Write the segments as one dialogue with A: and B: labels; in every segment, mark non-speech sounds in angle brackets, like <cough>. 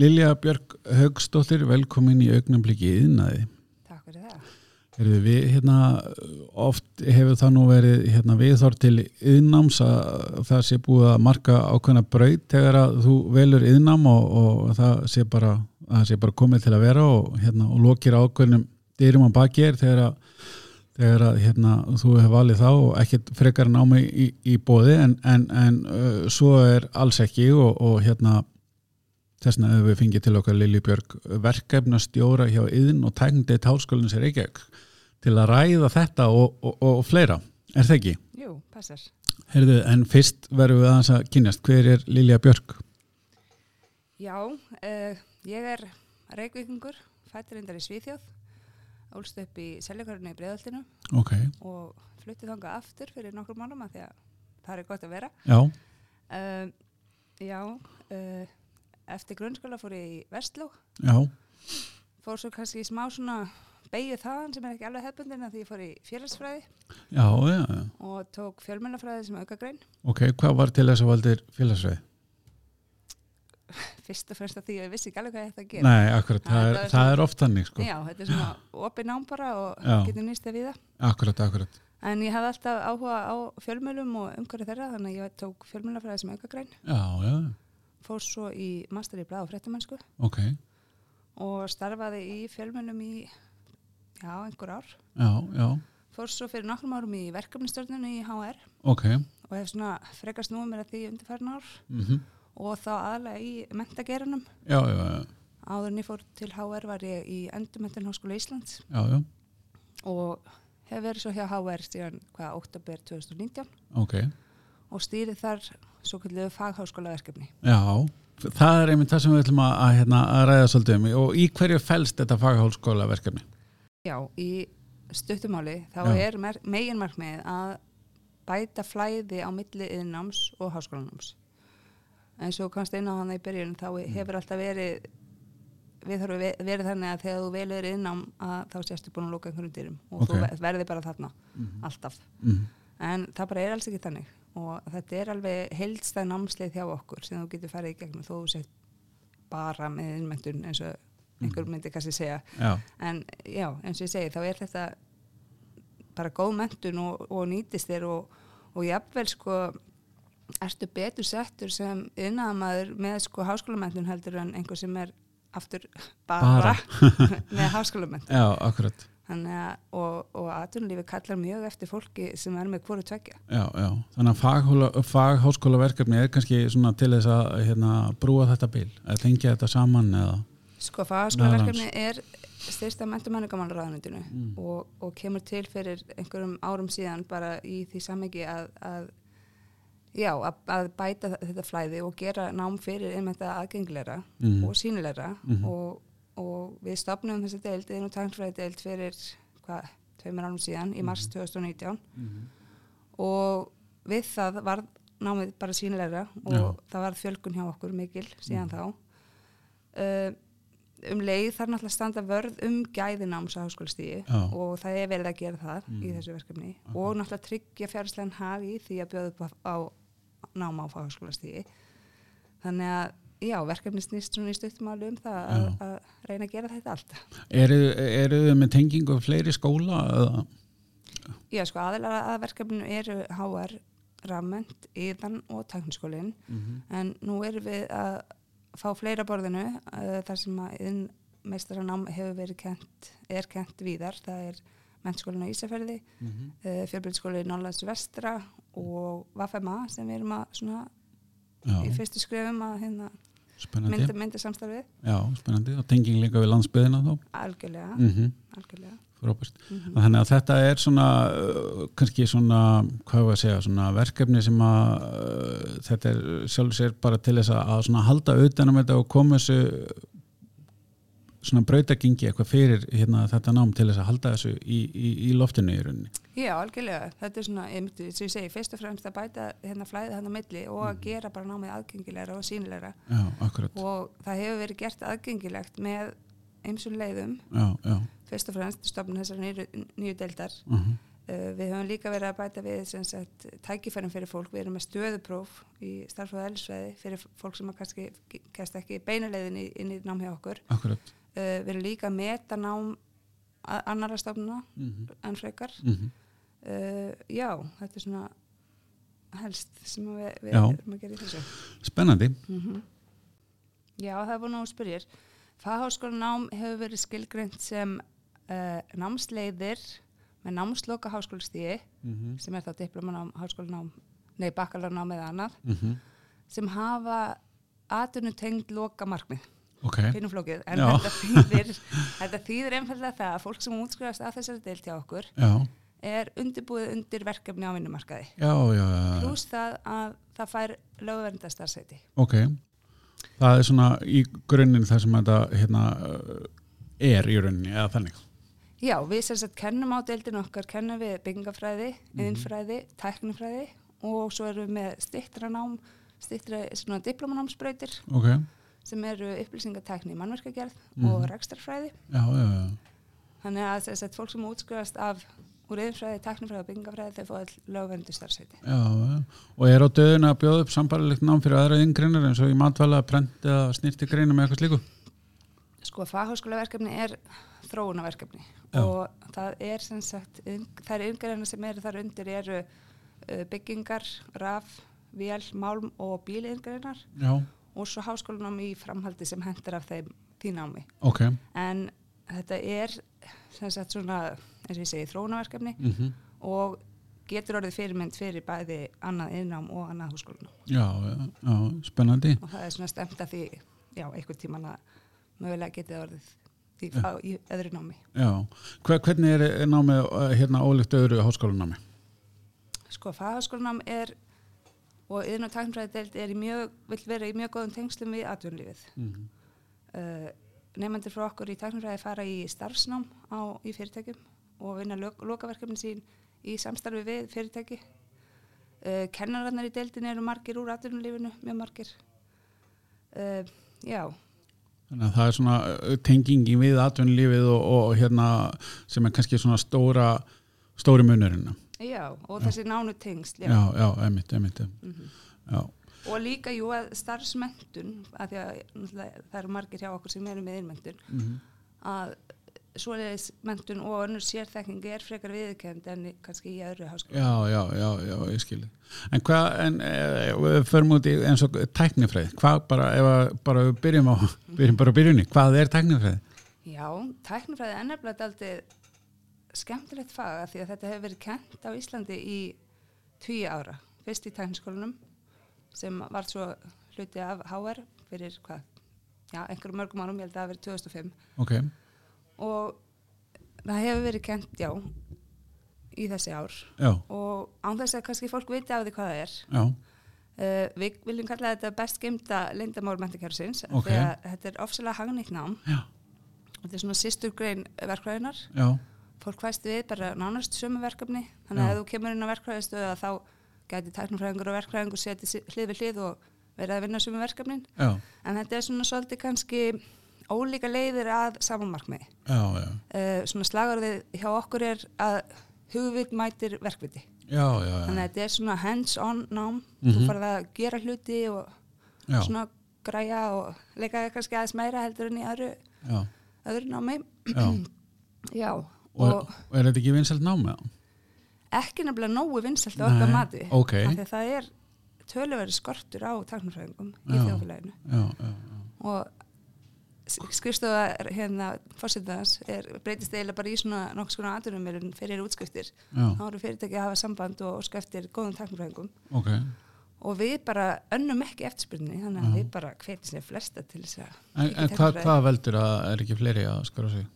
A: Lilja Björk Haugstóttir, velkomin í augnabliki yðnaði.
B: Takk fyrir það.
A: Heyrðu, við, hérna, oft hefur það nú verið hérna, viðþór til yðnáms að það sé búið að marka ákveðna braut þegar að þú velur yðnám og, og það, sé bara, það sé bara komið til að vera og, hérna, og lokir ákveðnum dyrum að baki er þegar að, þegar að hérna, þú hefur valið þá og ekkert frekar námi í, í bóði en, en, en uh, svo er alls ekki og, og hérna þessna hefur við fengið til okkar Lili Björk verkefnastjóra hjá yðin og tækndeitt háskólinns er ekki til að ræða þetta og, og, og fleira er það ekki?
B: Jú, passar.
A: Herðu, en fyrst verðum við aðeins að kynjast hver er Lilja Björk?
B: Já, uh, ég er reykvíkingur, fættirindar í Svíþjóð, ólst upp í seljakarunni í Breiðaldinu
A: Ok,
B: og flutti þangað aftur fyrir nokkrum mannum að því að það er gott að vera.
A: já,
B: Uh, já, uh, eftir grunnskóla fór ég í Vestló,
A: já,
B: fór svo kannski í smá svona beigju þaðan sem er ekki alveg hefbundin að því ég fór í félagsfræði
A: já, já, já.
B: og tók fjölmennafræði sem aukagrein.
A: ok, hvað var til þess að valdir félagsveið?
B: Fyrst og fremst að því að ég vissi ekki alveg hvað ég ætti að gera.
A: Nei, akkurat,
B: Það
A: það
B: er
A: er,
B: bara
A: það er oft þannig sko,
B: Já, þetta er svona opið nám bara og
A: Já.
B: getur nýst það við það.
A: akkurat, akkurat
B: En ég hafði alltaf áhuga á fjölmjölum og umhverju þeirra þannig að ég tók fjölmjölafræði sem aukagrein,
A: já, já,
B: fór svo í master í bláð og fréttamennsku
A: ok
B: og starfaði í fjölmjölum í já, einhver ár.
A: já, já,
B: Fór svo fyrir nokkrum árum í verkefnistörnunni í HR
A: ok
B: og hef svona frekar snúið mér að því undirfærin ár
A: mm
B: og þá aðalega í mentageranum.
A: já, já, já,
B: Áður en ég fór til HR var ég í Endurmentin Háskóla Íslands
A: já, já,
B: og hef verið svo hjá HR síðan hvað, óttabér 2019.
A: ok
B: og stýrið þar svo kalliðu fagháskólaverkefni.
A: Já, það er einmitt það sem við ætlum að, að, hérna, að ræða svolítið um og í hverju fælst þetta faghálskóla verkefni?
B: Já, í stuttumáli þá
A: Já.
B: er mer- meginmarkmiðið að bæta flæði á milli yðnáms og háskólanáms. En svo kannski inn á þannig í byrjun þá
A: Mm.
B: hefur alltaf verið við þurfum ve- verið þannig að þegar þú velur yðnám að þá sérstu búin að lóka einhverjum dyrum og
A: Ok.
B: þú ve- verði bara þarna alltaf.
A: Mm.
B: En það bara er alls ekki þannig og þetta er alveg heildstæð námsleið hjá okkur sem þú getur farið í gegnum þó þú sett bara með innmættun eins og
A: Mhm.
B: einhver myndi kannski segja.
A: Já,
B: En já, eins og ég segi þá er þetta bara góð menntun og, og nýtist þér og, og jafnvel sko ertu betur settur sem innaðamaður með sko háskólamöntun heldur en einhver sem er aftur bara, með háskólamöntun.
A: já, akkurat
B: Þannig að, og, og atvinnulífi kallar mjög eftir fólki sem er með hvoru tveggja.
A: Já, já, þannig að faghóla, faghálskóla verkefni er kannski svona til þess að hérna, brúa þetta bíl, að tengja þetta saman eða,
B: Sko, fagskólaverkefni er styrsta mentumæningamálraðanundinu mm. og, og kemur til fyrir einhverjum árum síðan bara í því samengi að, að já, að, að bæta þetta flæði og gera nám fyrir einmitt að aðgengilegra
A: Mhm.
B: og sínilegra og, og við stopnum þessa deild, einu tæknfræði deild fyrir hvað, tveimur árum síðan í mars 2019 og við það var námið bara sínilegra og
A: Já. Mm.
B: það var fjölgun hjá okkur mikil síðan þá uh, um leið þarf náttúrulega að standa vörð um gæðináms á háskólastíði
A: Já. Mm.
B: og það er verið að gera það í þessu verkefni og náttúrulega tryggja fjárhæslegan hag í því að bjóða upp á, á náma á háskólastíði þannig að já, verkefni snýst svona í stuttumáli um það að, að reyna að gera þetta allt
A: eru, eru þið með tengingu við fleiri skóla eða,
B: já, sko aðalega að verkefninu eru HR, rammend, yðan og tækniskólin en nú erum við að fá fleira borðinu uh, þar sem að yðn meistaranám hefur verið kent, er kent víðar, það er mennskólinn á Ísafjörði, mm -hmm. uh, fjölbyrðskóli Norrlands Vestra og Vafema sem við erum að svona í
A: já,
B: fyrstu skrefum að hérna
A: spennandi
B: mynda, mynda samstarfið,
A: já, spennandi, og tenging líka við landsbyðina þá
B: algjörlega,
A: mhm
B: algjörlega.
A: Frábært. Þannig að þetta er svona, uh, kannski svona, hvað var að segja, svona verkefni sem að uh, þetta er sjálfur sér bara til þess að, að svona halda utanum þetta og koma þessu svona brautagengi eitthvað fyrir hérna, þetta nám til þess að halda þessu í, í, í loftinu í rauninni.
B: Já, algjörlega, þetta er svona, ég myndi, sem ég segi, fyrst og fremst að bæta hérna flæðið hann á milli og að gera bara námið aðgengilegra og sínilegra
A: Já, akkurat.
B: og það hefur verið gert aðgengilegt með eins leiðum
A: Já, já.
B: fyrst og fremst stofnum þessar nýju, nýju deildar
A: Uh -huh.
B: Uh, við höfum líka verið að bæta við sem sagt, tækifærum fyrir fólk, við erum með stöðupróf í starfsfóða ellisfræði fyrir fólk sem að kannski kæst ekki beinulegðin inn í nám hjá okkur.
A: akkurat
B: Uh, við erum líka að meta nám a- annarra stofnuna
A: mm -hmm.
B: en frekar. Uh, já, þetta er svona helst sem að við, við
A: Já.
B: erum að gera í þessu.
A: Spennandi
B: Mhm. Já, það var nú að spyrja. Fagháskólanám hefur verið skilgreint sem uh, námsleiðir með námsloka háskólastíði
A: mm -hmm.
B: sem er þá diplomanám, háskólanám, nei bakkalarnám eða annað
A: mhm.
B: sem hafa atvinnu tengd loka markmið,
A: Ok,
B: finnum flókið en
A: Já.
B: þetta
A: <laughs>
B: þýðir, þetta þýðir einfallega það að fólk sem útskrifast að þessari deilt hjá okkur
A: já,
B: er undirbúið undir verkefni á vinnumarkaði
A: já, já, já.
B: pluss það að það fær lögverndastarseiti
A: ok Það er svona í grunninn það sem þetta hérna, er í rauninni eða þannig
B: Já, við sem sagt kennum á deildin okkar, kennum við byggingafræði, yðinfræði, tæknifræði og svo erum við með stittra nám, stittra svona diplomanámsbreytir
A: Ok,
B: sem eru upplýsingatekni í mannverkagerð
A: Mhm.
B: og rekstrarfræði.
A: já, já, já
B: Þannig að sem sagt fólk sem útskrifast af úr yðinfræði, tæknifræði og byggingafræði þau fá all lögvendu starfsæti.
A: Já, já. og er á döðinu að bjóða upp sambarlegt nám fyrir aðra yngreinar eins og í matvæla, prent eða snirtigreinar með eitthvað slíku?
B: Sko, fagháskólaverkefni er þróunaverkefni
A: Já.
B: og það er sem sagt, iðn- þær yngreina sem eru þar undir eru uh, byggingar, raf, vél, málm og bíliðingreinar
A: Já,
B: og svo háskólanum í framhaldi sem hendur af þeim því námi.
A: ok
B: En þetta er sem sagt svona, eins og ég segi, þróunaverkefni
A: mm -hmm.
B: og getur orðið fyrirmynd fyrir bæði annað innám og annað háskólanum
A: já, já, já, spennandi
B: og það er svona stemt að því, já, einhvern tíman að mögulega getið orðið í, á, í öðru námi.
A: Já, Hver, hvernig er er námið eh, hérna ólíkt öðru háskólanámi?
B: Sko, fagháskólanám er og yðin og tæknfræðideild er í mjög, vill vera í mjög góðum tengslum við atvinnlífið.
A: Mm
B: uh, nefnendur frá okkur í tæknifræði fara í starfsnám á, í fyrirtækjum og vinna lok, lokaverkefni sín í samstarfi við fyrirtæki. Uh, kennararnar í deildin eru margir úr atvinnulífinu, mjög margir. Uh, já,
A: Þannig að það er svona eh, tengingin við atvinnulífið og, og hérna sem er kannski svona stóra stóri munurinn
B: já, og þessi nánu tengsl.
A: Já, já, já emitt, emitt
B: Mhm.
A: Já,
B: Og líka, jú, að starfsmentun, að því að náttúrulega, það eru margir hjá okkur sem eru með innmentun,
A: Mhm.
B: að svoleiðis mentun og önnur sérþekking er frekar viðkend en í- kannski í öðru háskóla.
A: já, já, já, já ég skil En hvað, en eh, við förum út í eins og tæknifræð, hvað bara ef að bara við byrjum á, <laughs> byrjum bara á byrjunni hvað er tæknifræð?
B: Já, tæknifræði er nefnilega aldrei skemmtilegt faga því að þetta hefur verið kent á Íslandi í tíu ára. Fyrst í tækniskólanum sem var svo hluti af HR fyrir hvað, já, einhverjum mörgum árum, ég held að það hafi verið 2005
A: Ok,
B: og það hefur verið kent, já, í þessi ár
A: já,
B: og án þess að kannski fólk viti af því hvað það er.
A: já
B: Uh, við viljum kalla þetta best gemta lindamál mentakjörusins
A: Ok.
B: því að þetta er ofsalega hagnýtt nám
A: Já,
B: þetta er svona sýstur grein verkræðinar
A: já,
B: fólk fæst við bara nánast sömu verkefni þannig að
A: Já.
B: ef þú kemur inn á verkræðistöðu þá gæti tæknifræðingur og verkræðingur setið si- hlið við hlið og verið að vinna sömu verkefnin
A: já,
B: en þetta er svona svolítið kannski ólíka leiðir að samanmarkmiði
A: já, já
B: uh, svona slagurðið hjá okkur er að hugvit mætir verkviti
A: Já, já, já,
B: þannig að þetta er svona hands on nám þú
A: Mhm.
B: farið að gera hluti og
A: já,
B: svona græja og leika kannski aðeins meira heldur en í öðru,
A: já,
B: öðru námi
A: já.
B: já
A: Og, og er þetta ekki vinsælt námið?
B: ekki nefnilega nógu vinsælt á
A: Nei,
B: okkar mati
A: ok.
B: af því að það er töluveri skortur á tæknifræðingum í
A: Já.
B: þjófélaginu
A: Já, já,
B: og s- skrifstofa er- hérna fórsetans er breytist eiginlega bara í svona nokkuð skona aðdunumilun fyrir útskriftir
A: já,
B: þá eru fyrirtæki að hafa samband og óska eftir góðum tæknifræðingum
A: ok
B: og við bara önnum ekki eftirspurninni þannig að
A: Já.
B: við bara hvetjum sér flesta til þess að
A: En,
B: Ekki
A: en hvað,
B: tæknifræði.
A: hvað veldur að er ekki fleiri að skora sig?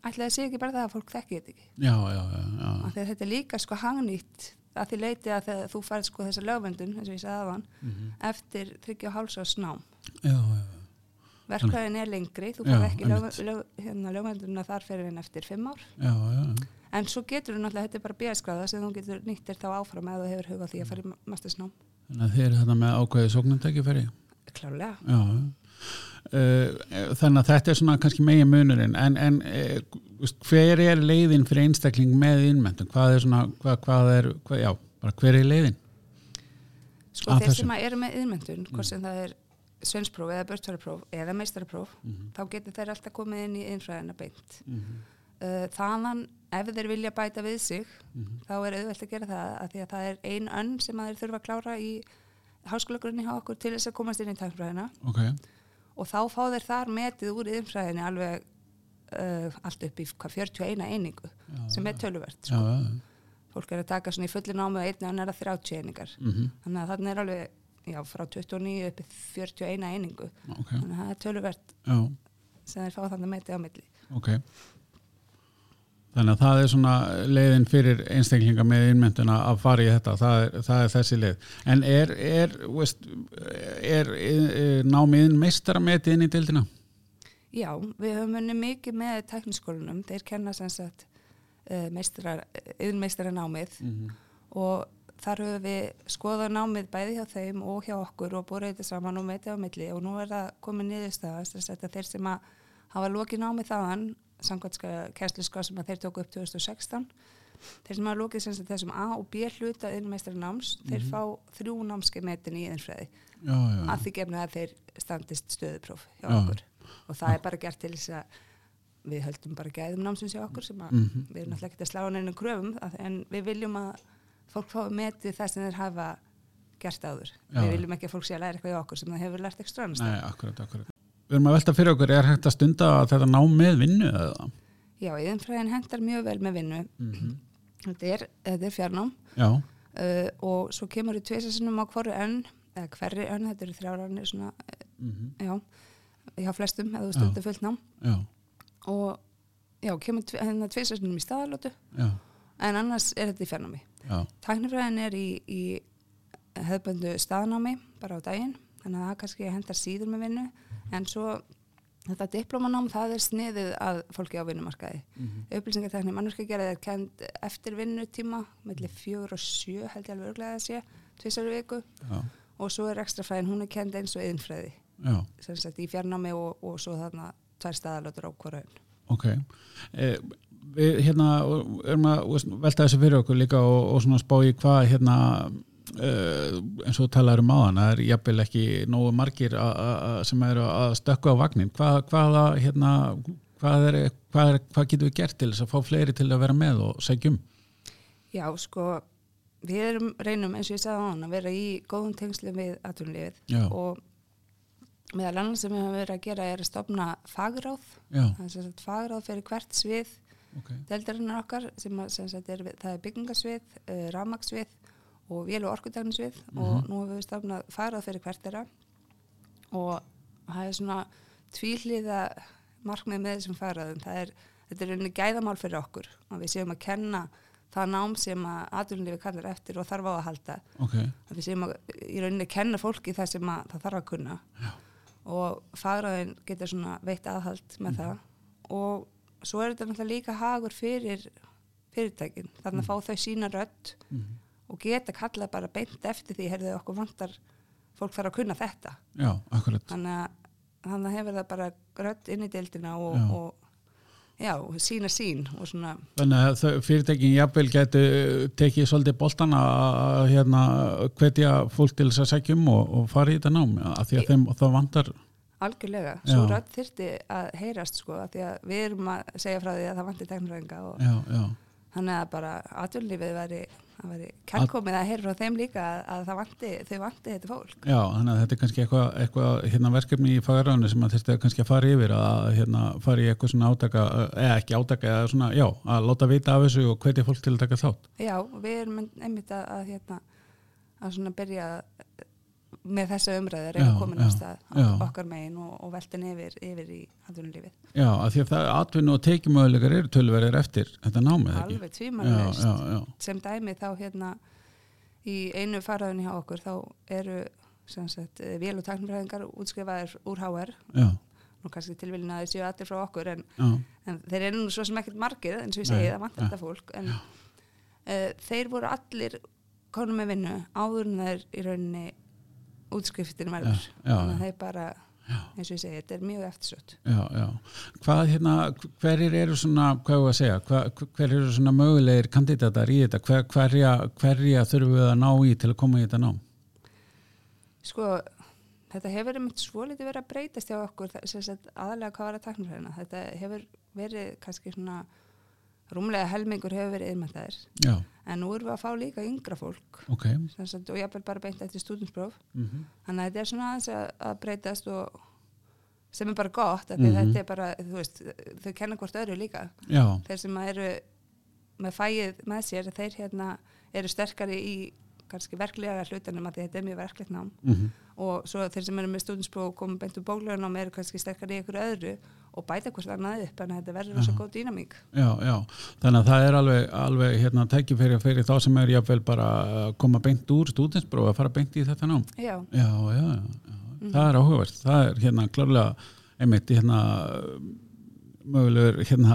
B: ætlaði að segja ekki bara það að fólk þekki þetta ekki
A: Já, já, já, já,
B: af því að þetta er líka sko hagnýtt að því leiti að þegar þú færð sko þessa lögvendun eins og ég sagði aðan
A: Mhm.
B: eftir 30,5 árs nám
A: já, já,
B: Verkræðin er lengri, þú
A: Já,
B: fær ekki lög,
A: einmitt.
B: lög, hérna, lögmældurinn að þar fyrir en eftir fimm ár.
A: já, já, já.
B: En svo getur þú náttúrulega, þetta er bara bíaskráða sem þú getur nýtt þér þá áfram eða þú hefur hugað því að fara í mastersnám.
A: Þannig að þið eru þetta með ákveðið sóknartækifæri?
B: Klálega.
A: Já, já. Eh, þannig að þetta er svona kannski megin munurinn en, en eh, hver er leiðin fyrir einstakling með innmyndun hvað er svona hvað, hvað er, hvað, já, bara hver er leiðin
B: Sko
A: Að
B: þeir
A: þessu.
B: sem að eru með
A: Mm.
B: yðmyndun, hvort sem það er svenspróf eða börtvarapróf eða meistarapróf, þá getur þeir alltaf komið inn í innfræðina beint. Mm
A: Mhm.
B: þaðan, ef þeir vilja bæta við sig,
A: Mhm.
B: þá er auðvelt að gera það að því að það er ein önn sem að þeir þurfa að klára í háskólagrunni hjá okkur til þess að komast inn í tækfræðina
A: ok,
B: og þá fá þeir þar metið úr yðmfræðinni alveg uh, allt upp í hvað 41 einingu sem er töluvert.
A: já, já, já.
B: Fólk er að taka svona í fullu námi og einni annar að 30 einingar
A: Mhm.
B: þannig að þannig er alveg já, frá 29 upp í 41 einingu
A: ok,
B: þannig að það er töluvert
A: já,
B: sem þeir fá þannig metið á milli
A: ok þannig að það er svona leiðin fyrir einstaklinga með innmyndun að fara í þetta, það er, það er þessi leið en er, er, þú veist, er, er, er námiðin meistarametið inn í dildina
B: já, við höfum unni mikið með tekniskólanum, þeir kenna sem sagt uh, yðnmeistara námið og þar höfum við skoðað námið bæði hjá þeim og hjá okkur og búið þetta saman og metið á milli og nú er það komið niðurstaða sem sagt að þeir sem að hafa lokið námið þaðan samkvæmt kæsluska sem að þeir tóku upp 2016 þeir sem hafa lokið sem sagt þessum A og B hluta yðnmeistara náms, þeir fá þrjú námski metin í yðnfræði
A: já, já, já,
B: að því gefna að þeir standist stöðupróf hjá
A: Mm. Já.
B: okkur og það er bara gert til þess að við höldum bara gæðum námsins hjá okkur sem að
A: Mhm.
B: við erum náttúrulega ekki að slá hann einu kröfum að, en við viljum að fólk fái metið það sem þeir hafa gert áður
A: Já.
B: við viljum ekki að fólk sé að læra eitthvað hjá okkur sem það hefur lært ekstra annars staðar.
A: nei, akkurat, akkurat við erum að velta fyrir okkur, er hægt að stunda þetta nám með vinnu eða?
B: Já, yðinfræðin hendar mjög vel með vinnu þetta, er, þetta er fjarnám
A: Já,
B: uh, og svo kemur við tvisasinum á hverju önn eða hverri önn, þetta eru þrjáranir svona,
A: mhm,
B: já, hjá flestum eða þú
A: Já.
B: stundar fullt nám
A: já,
B: og já, kemur tve- hérna tvisasunum í staðalótu
A: já,
B: en annars er þetta í fjarnámi.
A: já,
B: Tæknifræðin er í, í hefðböndu staðnámi bara á daginn, þannig að það kannski hendar síður með vinnu, en svo þetta diplómanám, það er sniðið að fólki á vinnumarkaði. Mm -hmm. Upplýsingatekni mannverkagerðið er kend eftir vinnutíma, mellir fjögur og sjö held ég alveg örglega að sé, tvisar í viku
A: já,
B: og svo er ekstrafræðin, hún er kend eins og yðinfræði,
A: já.
B: sem sagt í fjarnámi og, og svo þarna tvær staðalótur á hverjum.
A: Ok, eh, við hérna erum að þú veist, velta þessu fyrir okkur líka og, og svona spá í hvað hérna eh, eins og talar um áðan, það er jafnvel ekki nógu margir a, a, a, sem eru að stökka á vagnin, hvað, hvaða hérna, hvað, er, hvað, er, hvað getum við gert til þess að fá fleiri til að vera með og um? segjum?
B: Já, sko, við erum, reynum, eins og ég sagði á hann, að vera í góðum tengslum við
A: Já.
B: atvinnulífið og meðal annars sem við höfum verið að gera er að stopna fagráð,
A: Já,
B: það er sem sagt fagráð fyrir hvert svið
A: ok,
B: deldarinnar okkar sem, að, sem sagt er, við- það er byggingasvið, uh, rafmaksvið og vél og orkutæknisvið og nú hefur við stopnað fagráð fyrir hvert þeirra og það er svona tvíhliða markmið með þessum fagráðum, það er þetta er einu gæðamál fyrir okkur að við séum að kenna það nám sem að atvinnulífi kallar eftir og þarf á að halda
A: ok,
B: að við séum að í rauninni kenna fólki það sem að það þarf að kunna
A: Já.
B: og fagræðin getur svona veitt aðhald með
A: Mhm.
B: það og svo er þetta náttúrulega líka hagur fyrir fyrirtækin
A: Mhm.
B: þannig að fá þau sína rödd og geta kallað bara beint eftir því heyrðu okkur vantar, fólk þarf að kunna þetta
A: já, akkurat,
B: þannig að þannig að hefur það bara rödd inn í deildina og,
A: Já.
B: og já, og sína sín og svona
A: þannig að þau- fyrirtækin jafnvel getur tekið svolítið boltan að hérna hvetja fólk til þess að segjum og, og fara í þetta nám, af því að þeim, það vantar
B: algjörlega, svo
A: Já.
B: rödd þyrti að heyrast sko, af því að við erum að segja frá því að það vantir teknuröðinga og
A: já, já,
B: þannig að bara atvinnlífið væri, það væri kærkomið að heyra frá þeim líka að, að það vanti, þau vanti þetta fólk.
A: já, þannig að þetta er kannski eitthvað, eitthvað hérna, verkefni í fagaráðinu sem að þurfti að kannski að fara yfir að hérna, fara í eitthvað svona átaka eh, eða ekki átaka, eða svona, já, að láta vita af þessu og hvetja fólk til að taka þátt
B: Já, og við erum einmitt að, að hérna, að svona byrja með þessa umræður
A: Já,
B: eða komin
A: já,
B: af stað
A: já.
B: ok- okkar megin og, og veltin yfir, yfir í atvinnlífið.
A: já, af því að það atvinnu og tekjumöðulegar eru tölverðir eftir þetta námið ekki
B: Alveg tvímælust.
A: já, já, já,
B: sem dæmi þá hérna í einu faraðunni hjá okkur þá eru sem sagt eh, vél og taknfræðingar útskrifaðir úr HR
A: já,
B: nú kannski tilvílin að þeir séu allir frá okkur en,
A: já,
B: en þeir eru nú svo sem ekkert margir eins og ég
A: Nei,
B: segi það
A: nei.
B: vantar þetta fólk en uh, þeir voru allir konum með vinnu áður en þeir í rauninni útskriftin verður
A: Já, já,
B: þannig
A: já.
B: að þeir bara eins og ég segi, þetta er mjög eftirsött
A: Já, já. Hvað hérna, hverjir eru svona, hvað var að segja, hvað, hverjir eru svona mögulegir kandidatar í þetta, hver, hverja, hverja þurfum við að ná í til að koma í þetta nám?
B: sko, þetta hefur einmitt svo litið verið að breytast hjá okkur þa- sem sagt, aðalega hvað var að taknfræðina þetta hefur verið kannski svona rúmlega helmingur hefur verið yðmentaðir
A: Já,
B: en nú erum við að fá líka yngra fólk
A: ok.
B: sem sagt, og jafnvel bara beint eftir stúdinspróf
A: Mm
B: þannig að þetta er svona aðeins að, að breytast og sem er bara gott mm
A: Mhm.
B: þetta er bara, þú veist, þau kenna hvort öðru líka
A: Já,
B: þeir sem að eru með fæið með sér, þeir hérna eru sterkari í kannski verklega hlutanum að því þetta er mjög verklegt nám
A: mm
B: og svo þeir sem eru með stúdinspróf og komum beint úr bóklaunum eru kannski sterkari í ykkur öðru og bæta hvort annað upp en þetta verður rosa góð dýnamík
A: já, já. Þannig að það er alveg, alveg hérna, tækifæri fyrir þá sem er jafnvel bara að koma beint úr stúdinspróf að fara beint í þetta nám.
B: Já,
A: Já, já, já. já.
B: Mhm.
A: Það er áhugavert. Það er hérna klárlega, einmitt, hérna mögulegur hérna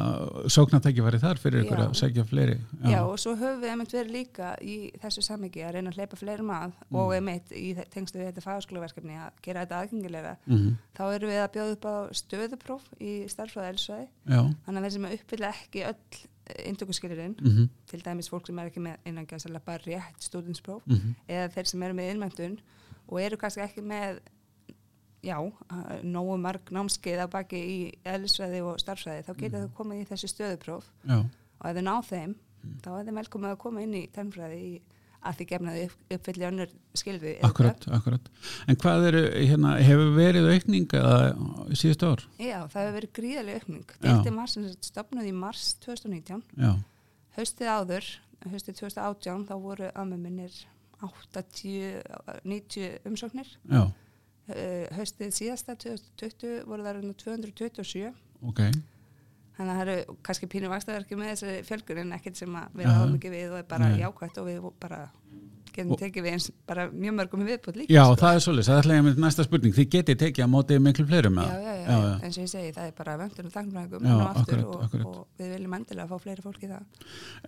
A: sóknartækifæri þar fyrir ykkur
B: Já.
A: að segja fleiri.
B: já. og svo höfum við einmitt verið líka í þessu samhengi að reyna að hleypa fleirum að og einmitt í þe- tengstu við þetta fagaskólaverkefni að gera þetta aðgengilega
A: Mhm.
B: þá erum við að bjóða upp á stöðupróf í starffræða elsvæði
A: Já,
B: þannig að þeir sem uppfylla ekki öll inntökuskilirinn,
A: mm -hmm.
B: til dæmis fólk sem er ekki með innan gæðsala bara rétt stúdinspróf
A: Mm
B: eða þeir sem eru með innmæntun og eru kannski ekki með já, að- nógu marg námskeið á baki í eðlisfræði og starfsræði þá
A: Mm.
B: geta þau komið í þessu stöðupróf
A: já,
B: og ef þau ná þeim,
A: Mm.
B: þá er þeim velkomið að koma inn í tennfræði í að því gefna þau upp, uppfylli önnur skilfi
A: akkurat, akkurat. En hvað eru, hérna, hefur verið aukning eða síðustu ár?
B: Já, það hefur verið gríðarlega aukning
A: Já.
B: Deildin var sem sagt stopnuð í mars 2019
A: Já,
B: haustið áður, haustið 2018 þá voru ömmu minnir 80, 90 umsóknir
A: já,
B: Eh, haustið síðasta 2020 voru það raunar 227
A: ok.
B: þannig að það eru kannski pínu vakstaverki með þessari fjölgun en ekkert sem að við
A: Aha.
B: áhum ekki við og er bara
A: Nei.
B: jákvætt og við bara getum
A: Og-
B: tekið við eins bara mjög mörgum í viðbútt líka
A: Já,
B: sko.
A: það er svolítið, það ætla ég með næsta spurning. Þið getið tekið á mótið miklu fleirum
B: já,
A: eða?
B: já, já,
A: já.
B: eins og ég segi það er bara vöndun og þangfræðingum
A: Já,
B: og aftur
A: akkurat,
B: og,
A: akkurat.
B: og við viljum endilega fá fleiri fólk í það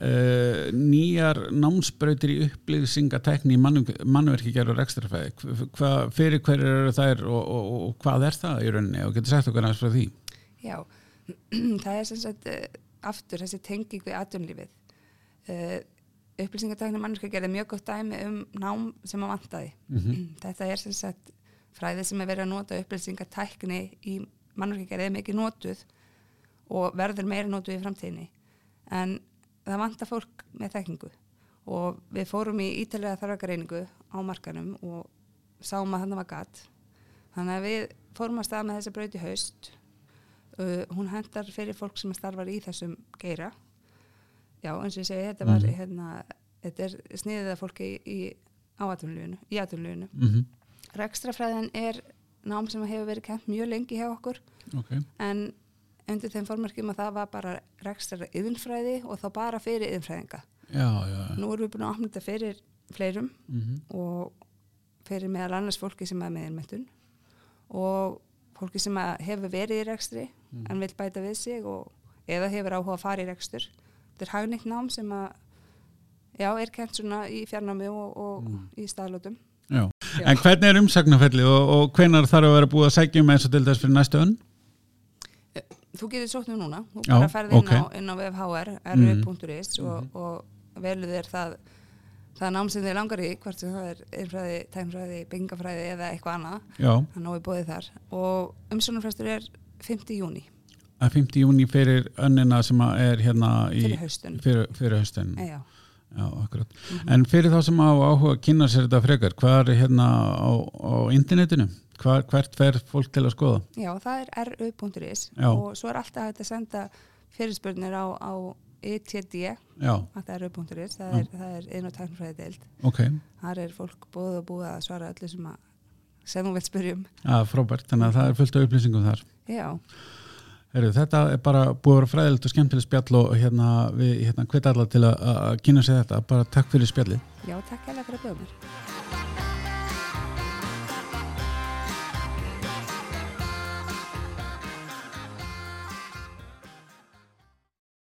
A: Eh, nýjar námsbrautir í upplýsingatekni í mannverkigerð og rekstrafæði. Hva, fyrir hverju eru þær og, og, og hvað er það í rauninni og getur sagt okkur aðeins frá því?
B: já, <clears throat> það er sem sagt eh, aftur þessi tenging við atvinnlífið uh, upplýsingatakni mannurka gerði mjög gott dæmi um nám sem að vantaði <clears throat> þetta er sem sagt fræðið sem er verið að nota upplýsingatækni í mannverkjagerð er mikið notuð og verður meira notuð í framtíðinni en það vantar fólk með þekkingu og við fórum í ítalega þarfakareiningu á markanum og sáum að hann var gatt þannig að við fórum að stað með þessa braut í haust uh, hún hendar fyrir fólk sem starfar í þessum geira já eins og ég segi þetta var
A: Mhm.
B: hérna, þetta er sniðið að fólki í, í áatumluginu í átumluginu
A: Mm
B: Rekstrafræðin er nám sem hefur verið kempt mjög lengi hjá okkur
A: Ok,
B: en undir þeim formarkjum að það var bara rekstrara yðinfræði og þá bara fyrir yðinfræðinga.
A: já, já.
B: Nú erum við búin að opna þetta fyrir fleirum
A: Mm
B: og fyrir meðal annars fólki sem er með innmættun og fólki sem að hefur verið í rekstri en vil bæta við sig og eða hefur áhuga að fara í rekstur. Þetta er hagnýtt nám sem að já, er kent svona í fjarnámi og, og í staðlótum.
A: já. En hvernig er umsagnarfellið og, og hvenar þarf að vera búið að sækja um eins og til þess fyrir næstu önn?
B: Þú getur sótt um núna, þú
A: Já,
B: bara ferði inn,
A: ok. Mhm.
B: á- inn á VFHR, ru.is og, og velur þér það, það nám sem þið langar í, hvort sem það er innfræði, tæmfræði, byggingafræði eða eitthvað annað,
A: Já,
B: þannig að við bóðið þar. Og umsönumfræstur er 5. júni,
A: að 50 júni fyrir önnina sem að er hérna í,
B: fyrir haustun.
A: fyrir, fyrir höstin.
B: E, já.
A: Já, Mhm. akkurat. En fyrir þá sem hafa áhuga að kynna sér þetta frekar, hvað er hérna á, á internetinu? Hvar, hvert fer fólk til að skoða?
B: já, það er ru.is
A: Já.
B: og svo er alltaf hægt að senda fyrirspurnir á, á E ETD,
A: Já,
B: að það er ru.is, það
A: Já.
B: er, það er inn og tæmfræði deild.
A: ok,
B: Þar er fólk bóðið og búið að svara öllu sem, að, sem þú vilt spyrjum.
A: að frábært, þannig að það er fullt af upplýsingum þar.
B: Já.
A: Heru, þetta er bara búið að vera fræðilegt og skemmtileg spjall og hérna, við hérna, hvet alla til að, að kynna sér þetta, bara takk fyrir spjallið.
B: é Já, takk hérlega fyrir að bjóða mér.